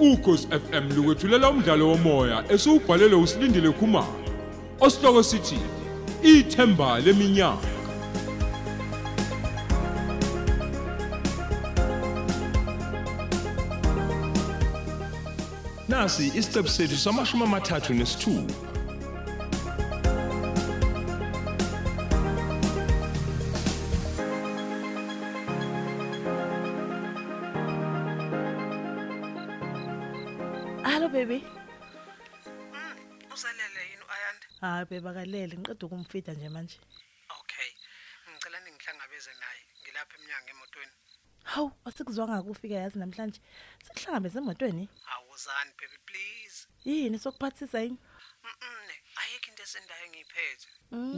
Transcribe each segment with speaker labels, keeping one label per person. Speaker 1: ukhosi FM lukwethulela umdlalo womoya esiubhalelwe usilindile Khumalo osihloko sithi ithemba leminyaka
Speaker 2: nasi isiqebu sethu samashumi amathathu nesithupha
Speaker 3: Hello baby.
Speaker 4: Mm, usalele yini ayanda
Speaker 3: Hayi babe akalele ngiqeda ukumfida nje manje.
Speaker 4: okay ngicela ningihlangabeze naye ngilapha eminyango emotweni
Speaker 3: Hawu, asikuzwa ngakufika yazi namhlanje. Sihlangabe emotweni.
Speaker 4: awuzani baby please
Speaker 3: Yini sokuphathisa yini?
Speaker 4: mne ayikho into esendayo engiyiphethe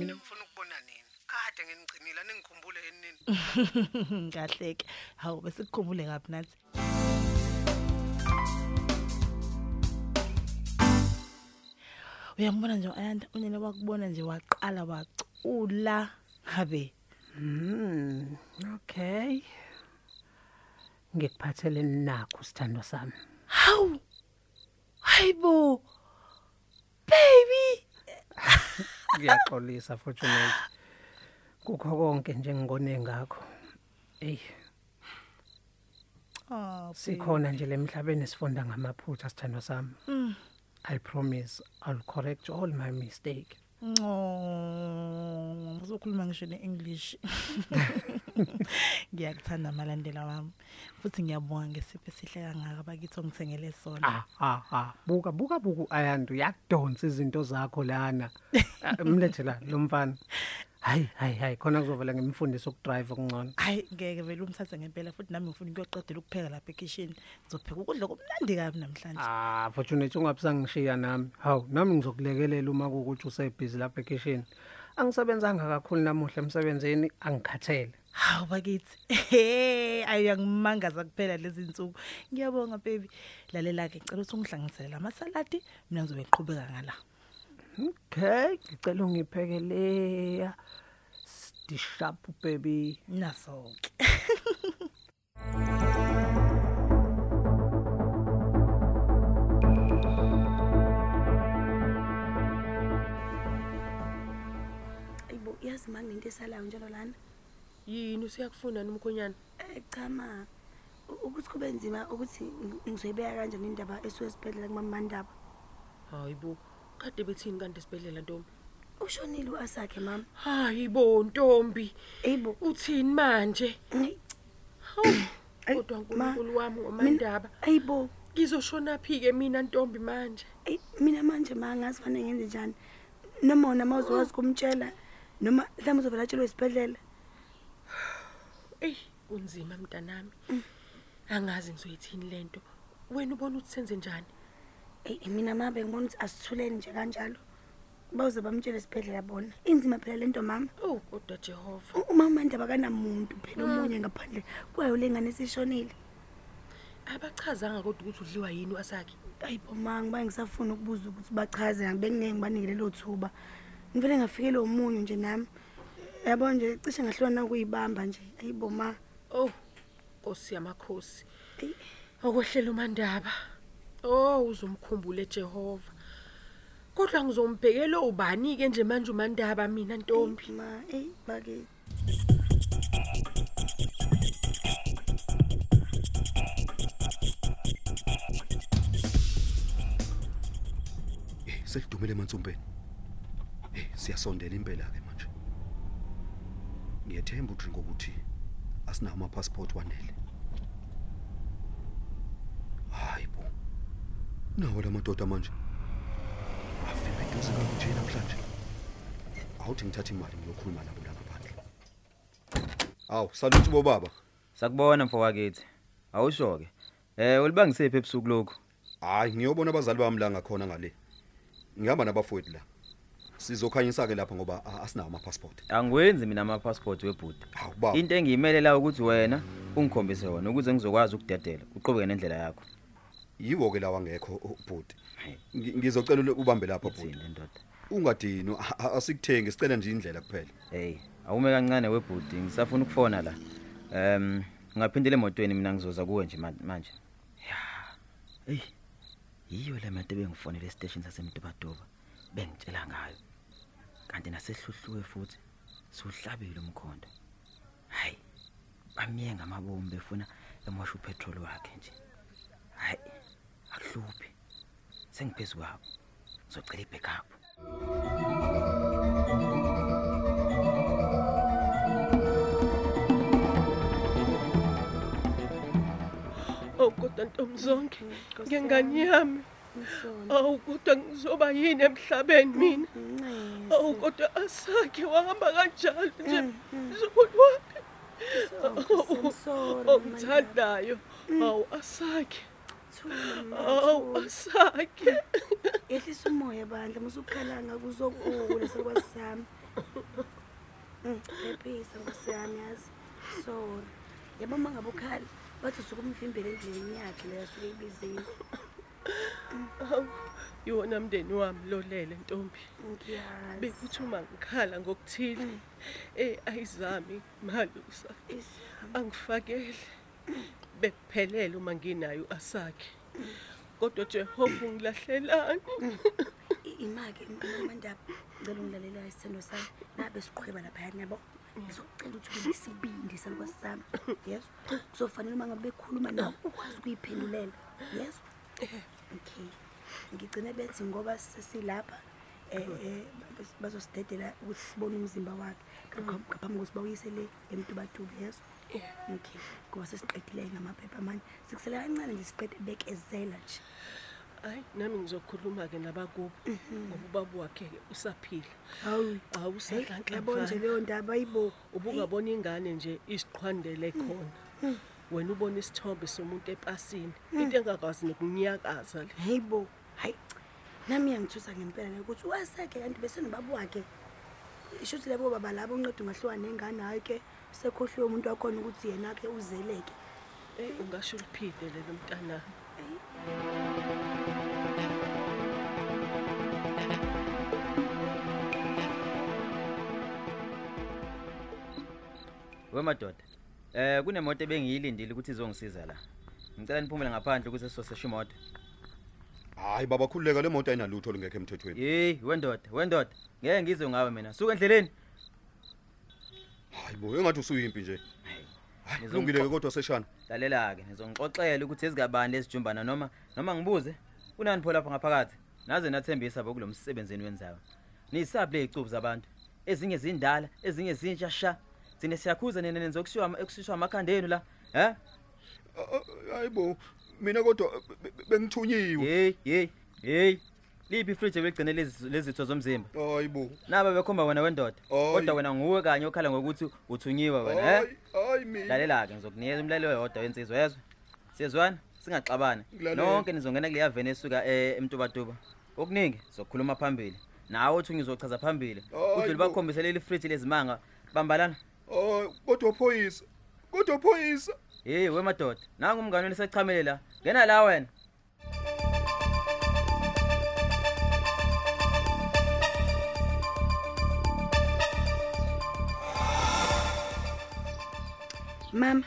Speaker 4: mina ngifuna ukubona nini kade nginigcinile ningikhumbule yini nini
Speaker 3: Kahle ke. Hawu bese kukhumbule kabi nathi. Uyambona nje ayanda unyene wakubona nje waqala wacula. Habe.
Speaker 4: Mm, okay ngikuphathele nakho sithando sami
Speaker 3: Hawu. Hayibo. Baby.
Speaker 4: ngiyaxolisa fortunate kukho konke nje ngikone ngakho eyi
Speaker 3: Oh,
Speaker 4: sikhona nje lemhlabeni sifunda ngamaphutha sithando sami i promise i'll correct all my mistake
Speaker 3: Oh, ngizokhuluma ngisho neEnglish. Ngiyakuthanda amalandela wami. Futhi ngiyabonga ngesipho esihle kangaka bakithi ongithengele sona.
Speaker 4: Ah ah ah buka buka buku ayandu yakudonsa izinto zakho lana Ah, mlethela lo mfana hayi hayi hayi khona kuzovela ngimfundisa ukudrive okungcono
Speaker 3: Hayi ngeke vele umthathe ngempela futhi nami ngifuna ukuyoqedela ukupheka lapha ekitchen. Ngizopheka ukudla komnandi kabi namhlanje.
Speaker 4: ah fortunate ungabisangishiya nami hawu nami ngizokulekelela uma kuwukuthi usebhizi lapha ekishini angisebenzanga kakhulu namuhla emsebenzini angikhathele
Speaker 3: Hawu bakithi. Hey, ayangimangaza kuphela lezi insuku. Ngiyabonga baby. Lalela ke ngicela ukuthi ungihlanganisele lamasaladi mina ngizobe ngiqhubeka ngala.
Speaker 4: okay ngicela ungiphekeleya dishapu baby
Speaker 3: Naso ke.
Speaker 5: ayibo yazi ma nginento esalayo njalo lana
Speaker 6: yini usuyakufuna nini umkhonyana
Speaker 5: Eh, cha ma u- ukuthi kube nzima ukuthi ng- ngizoyibeka kanjani indaba esuke esibhedlela kumamandaba
Speaker 6: hayi bo kade bethini kanti sibhedlela ntombi
Speaker 5: ushonile u-asakhe mama
Speaker 6: hayi bo ntombi
Speaker 5: eyibo
Speaker 6: uthini manje
Speaker 5: ngi-
Speaker 6: hawu
Speaker 5: Ayi,
Speaker 6: kodwa
Speaker 5: ma,
Speaker 6: unkulunkulu wami
Speaker 5: mina-
Speaker 6: wamandaba
Speaker 5: ayibo
Speaker 6: ngizoshona phi-ke mina ntombi manje
Speaker 5: eyi, mina manje ma ngazi fanele ngenze njani noma wona ma uzokwazi ukumtshela noma mhlawumbe uzovela atshelwe isibhedlela
Speaker 6: eyi kunzima mntanami
Speaker 5: Mm.
Speaker 6: angazi ngizoyithini le nto wena ubona ukuthi senze njani
Speaker 5: eyi mina ma bengibona ukuthi asithuleni nje kanjalo bawuze bamtshele esibhedlela bona inzima phela le nto mama
Speaker 6: owu kodwa jehova
Speaker 5: U- uma umandaba kanamuntu phela omunye ngaphandle kwayo le ngane esishonile
Speaker 6: abachazanga kodwa ukuthi udliwa yini wasakhe
Speaker 5: ayi boma ngiba ngisafuna ukubuza ukuthi bachaze ngibe ngingeke ngibanike lelo thuba ngivele ngafikelwe umunye nje nami yabo nje cishe ngahlulwa nakuyibamba nje ayi boma
Speaker 6: owu nkosi yamakhosi
Speaker 5: Eyi.
Speaker 6: okwehlela umandaba oh uzomkhumbula ejehova kodwa ngizombhekela ubani-ke nje manje umandaba mina ntombi
Speaker 5: ma eyi bake
Speaker 7: selidumile emansumpeni Eh, siyasondela impela ke manje ngiyethemba udringo ukuthi asinawo amapassport wanele hayi bo nawo la madoda manje afike eduze kakuthi namhlanje awuthi ngithathe imali ngiyokhuluma nabo la ngaphandle awu saluthi bobaba
Speaker 8: Sakubona mfowakithi. Awusho ke. Eh ulibangisephi ebusuku lokho?
Speaker 7: hayi ngiyobona abazali bami la ngakhona ngale ngihamba nabafowethu la sizokhanyisa ke lapha ngoba ah, asinawo amapassport
Speaker 8: Angwenzi mina ama passport webhuti.
Speaker 7: hawu baba
Speaker 8: Into engiyimelela ukuthi wena ungikhombise wona ukuze ngizokwazi ukudedela, uqhubeke nendlela yakho.
Speaker 7: yiwo ke lawa ngekho ubhuti Ngi- ngizocela ule- ubambe lapha bhuti
Speaker 8: Uthini ndoda?
Speaker 7: ungadini a- a- asikuthengi sicela nje indlela kuphela
Speaker 8: Hey, awume kancane webhuti, ngisafuna ukufona la. Ehm, ngaphindela emotweni mina ngizoza kuwe nje ma- manje. eyi yiyo le muntu ebengifonele esiteshini sasemntubaduba bengitshela ngayo kanti nasehluhluwe futhi siwuhlabile umkhondo hayi bamiye ngamabomu befuna emosha upetroli wakhe nje hayi akuhluphi sengiphezu kwabo ngizocela i-backup
Speaker 6: awu kodwa ntombi zonke ngengane yami awu kodwa ngizoba yini emhlabeni mina
Speaker 5: Mm,
Speaker 6: awu kodwa asakhe wahamba kanjalo nje mzukulu wami Awu, ongithandayo awu asakhe awu asakhe
Speaker 5: yehlisa umoya bandla musukukhalanga kuzokula sekwasami ephisa nkosi yami yazi sori yabo uma ngabe ukhali bathi usuke umvimbele endleleni yakhe leyo asuke ibizile
Speaker 6: iwona mndeni wami lolele ntombi
Speaker 5: ngiyazi
Speaker 6: bekuthi uma ngikhala ngokuthile eh ayizami malusa angifakele bekuphelele uma nginayo asakhe kodwa Jehova ungilahlelani
Speaker 5: I- ima-ke mandaba ngicela ungilalelayo isithendo sami nabe siqhweba laphayani yabo ngizokucela ukuthi ube isibindi salukwazi sami yezo kuzofanele uma ngabe bekhuluma nawe ukwazi ukuyiphendulela yezo okay ngigcine bethi ngoba sesilapha um bazosidedela ukuthi sibone umzimba wakhe ngapha- ngaphambi kokuthi bawuyise le emtubatubi yezo okay ngoba sesiqedile ngamaphepha manje sikusele kancane nje siqede bekezela nje
Speaker 6: hayi nami ngizokhuluma-ke nabakubo ngoba ubaba wakhe-ke usaphila
Speaker 5: hawu
Speaker 6: awusadlanhla
Speaker 5: yabo nje leyo ndaba ayibo
Speaker 6: ubungabona ingane nje isiqhwandele khona wena ubona isithombe somuntu epasini into engakwazi nokunyakaza le
Speaker 5: hayibo hayi nami iyangithusa ngempela nekuthi wasakhe kanti besenobaba wakhe isho ukuthi labo baba labo unqeda ungahluka nengane hhayi ke sekhohliwe umuntu wakhona ukuthi yena-ke uzeleke
Speaker 6: Eh, ungasho uliphide lelo mntanami
Speaker 8: we madoda um kunemoto ebengiyilindile ukuthi izongisiza la ngicela niphumele ngaphandle ukuthi sisosesha imoto
Speaker 7: hayi baba khululeka le moto ayinalutho olungekho emthethweni
Speaker 8: yeyi wendoda wendoda ngeke ngizwe ngawe mina suka endleleni
Speaker 7: hayi bo engathi usuyimpi nje Hayi,
Speaker 8: Ngizomxo-
Speaker 7: kulungile-ke kodwa seshana
Speaker 8: lalela-ke ngizongixoxela ukuthi ezingabani lezijumbana noma noma ngibuze kunani pho lapha ngaphakathi naze nathembisa bokulo msebenzini wenizayo niyisabi ley'cubu zabantu ezinye zindala ezinye zintsha sha thina siyakhuza nina nenza okushiwa- ekushiswa amakhanda enu la um
Speaker 7: hayi bo mina kodwa eh, be- be- bengithunyiwe
Speaker 8: yeyi yeyi yeyi liphi ifriji beligcine lezi- lezitho zomzimba
Speaker 7: hayi bo
Speaker 8: naba bekhomba wena wendoda
Speaker 7: Ayi.
Speaker 8: kodwa wena nguwe kanye okhala ngokuthi uthunyiwe wena um
Speaker 7: hayi hayi mina
Speaker 8: lalela-ke ngizokunikeza umlalelo yodwa wensizwa yezwe siyezwana singaxabani
Speaker 7: Ngilalela.
Speaker 8: nonke nizongena kuleya veni esuka eh, emtubatuba okuningi sizokhuluma phambili nawe othi ngizochaza phambili
Speaker 7: Hayi
Speaker 8: udlule
Speaker 7: bo.
Speaker 8: bakhombise leli frithi lezimanga bambalana
Speaker 7: hayi kodwa phoyisa kodwa phoyisa
Speaker 8: yeyi we madoda nangu umngane wenu sechamele la ngena la wena
Speaker 5: mama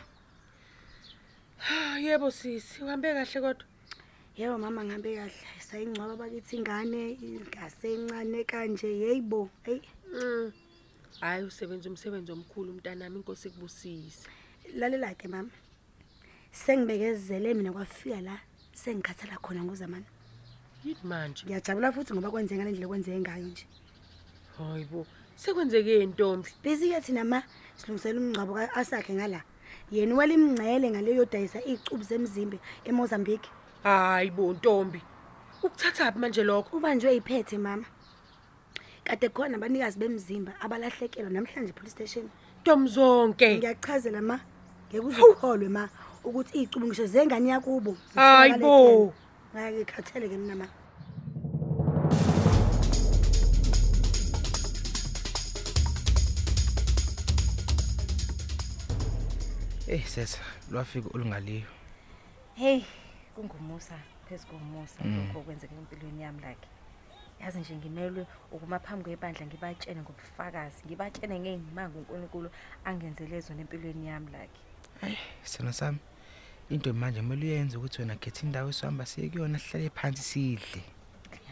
Speaker 6: Ah, yebo sisi uhambe kahle kodwa
Speaker 5: yebo mama ngihambe kahle sayingcwaba bakithi ingane ngasencane kanje yeyibo eyi
Speaker 6: hhayi usebenza umsebenzi omkhulu mntanami inkosi kubusise
Speaker 5: lalela-ke mama sengibekezele mina kwafika la sengikhathala khona ngozamani
Speaker 6: yini manje
Speaker 5: ngiyajabula futhi ngoba kwenzeke ngale ndlela kwenzeke ngayo nje
Speaker 6: hayi bo sekwenzeke ntombi
Speaker 5: busy-ke thina ma silungisela umngcwabo asakhe ngala yena walimngcele ngale yodayisa iy'cubu zemzimbe emozambique
Speaker 6: hayi bo ntombi ukuthatha phi manje lokho
Speaker 5: ubanjwe iphethe mama kade khona abanikazi bemzimba abalahlekelwa namhlanje police station
Speaker 6: ntombi zonke
Speaker 5: ngiyakuchazela ma ngeke uzukholwe ma ukuthi iy'cubu ngisho zengane yakubo
Speaker 6: Hayi bo.
Speaker 5: ngikhathele-ke mina ma
Speaker 9: eyi sesa lwafika olungaliyo
Speaker 10: heyi kungumusa phezu kongumusa lokho okwenzeke empilweni yami lakhe yazi nje ngimelwe ukuma phambi kwebandla ngibatshene ngobufakazi ngibatshene ngey'ngimango unkulunkulu angenzele zona empilweni yami lakhe
Speaker 9: sithando sami
Speaker 8: into manje kumele uyenze ukuthi wena khetha indawo esohamba siye kuyona sihlale phansi sidle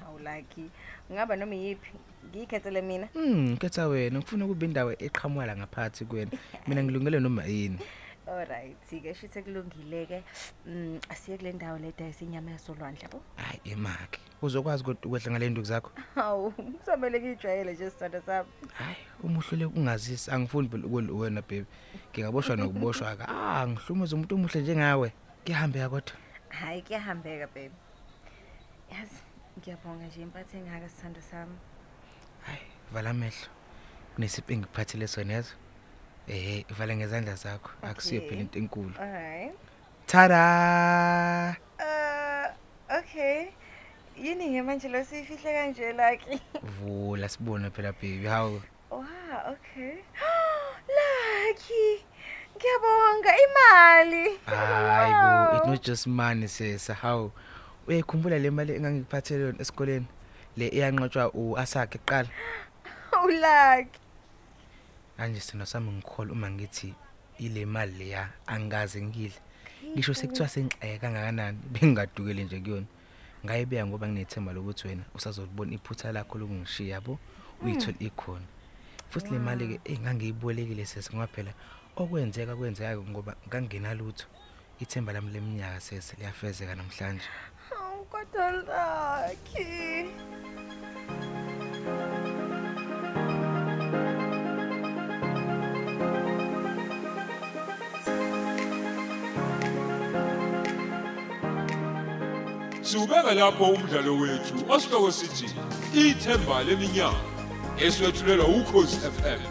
Speaker 10: hawu lucky ngaba noma iyiphi ngiyikhethele mina
Speaker 8: um khetha wena ngifuna kube indawo eqhamuka la ngaphathi kuwena mina ngilungele noma yini
Speaker 10: allright-ke shithe kulungile-ke um asiye kule ndawo le dayisa inyama yasolwandle yabo
Speaker 8: hhayi emake uzokwazi kodwa ukwehla ngale nduku zakho
Speaker 10: hawu kusamele kuyijwayele nje sithanda sami
Speaker 8: uma uhluleka ungazisi angifuni phela wena bhebi ngingaboshwa nokuboshwa-ke a ngihlumeze umuntu omuhle njengawe kuyahambeka kodwa
Speaker 10: hhayi kuyahambeka babe yazi ngiyabonga nje impathe engaka sithando sami
Speaker 8: vala amehlo kunesipho engikuphathele sona yazo ehe uvale ngezandla zakho akusiyo phela into enkulu
Speaker 10: allright
Speaker 8: tada
Speaker 10: uh, okay yini-ke manje lo siyifihle kanje lucky
Speaker 8: vula sibone phela bhebi hawu
Speaker 10: Wow, okay. Lucky. Ngiyabonga imali.
Speaker 8: hayi bo it not just money sesa hawu uyayikhumbula le mali engangikuphathele yona esikoleni le eyanqotshwa u-asakhe kuqala
Speaker 10: Ulucky.
Speaker 8: manje sithando sami ngikhole uma ngithi ile mali leya angikaze ngidle ngisho sekuthiwa sengixeke kangakanani bengingadukeli nje kuyona ngayibeka ngoba nginethemba lokuthi wena usazolibona iphutha lakho lokungishiya yabo uyithole ikhona futhi le mali-ke eyi ngangiyibolekile sese ngoba phela okwenzeka kwenzeka ngoba nganginalutho ithemba lami leminyaka sese liyafezeka namhlanje
Speaker 10: Oh, kodwa lucky.
Speaker 1: Siubeka lapho umdlalo wethu osihloko sithi ithemba leminyaka eswetshulelwa ukhozi FM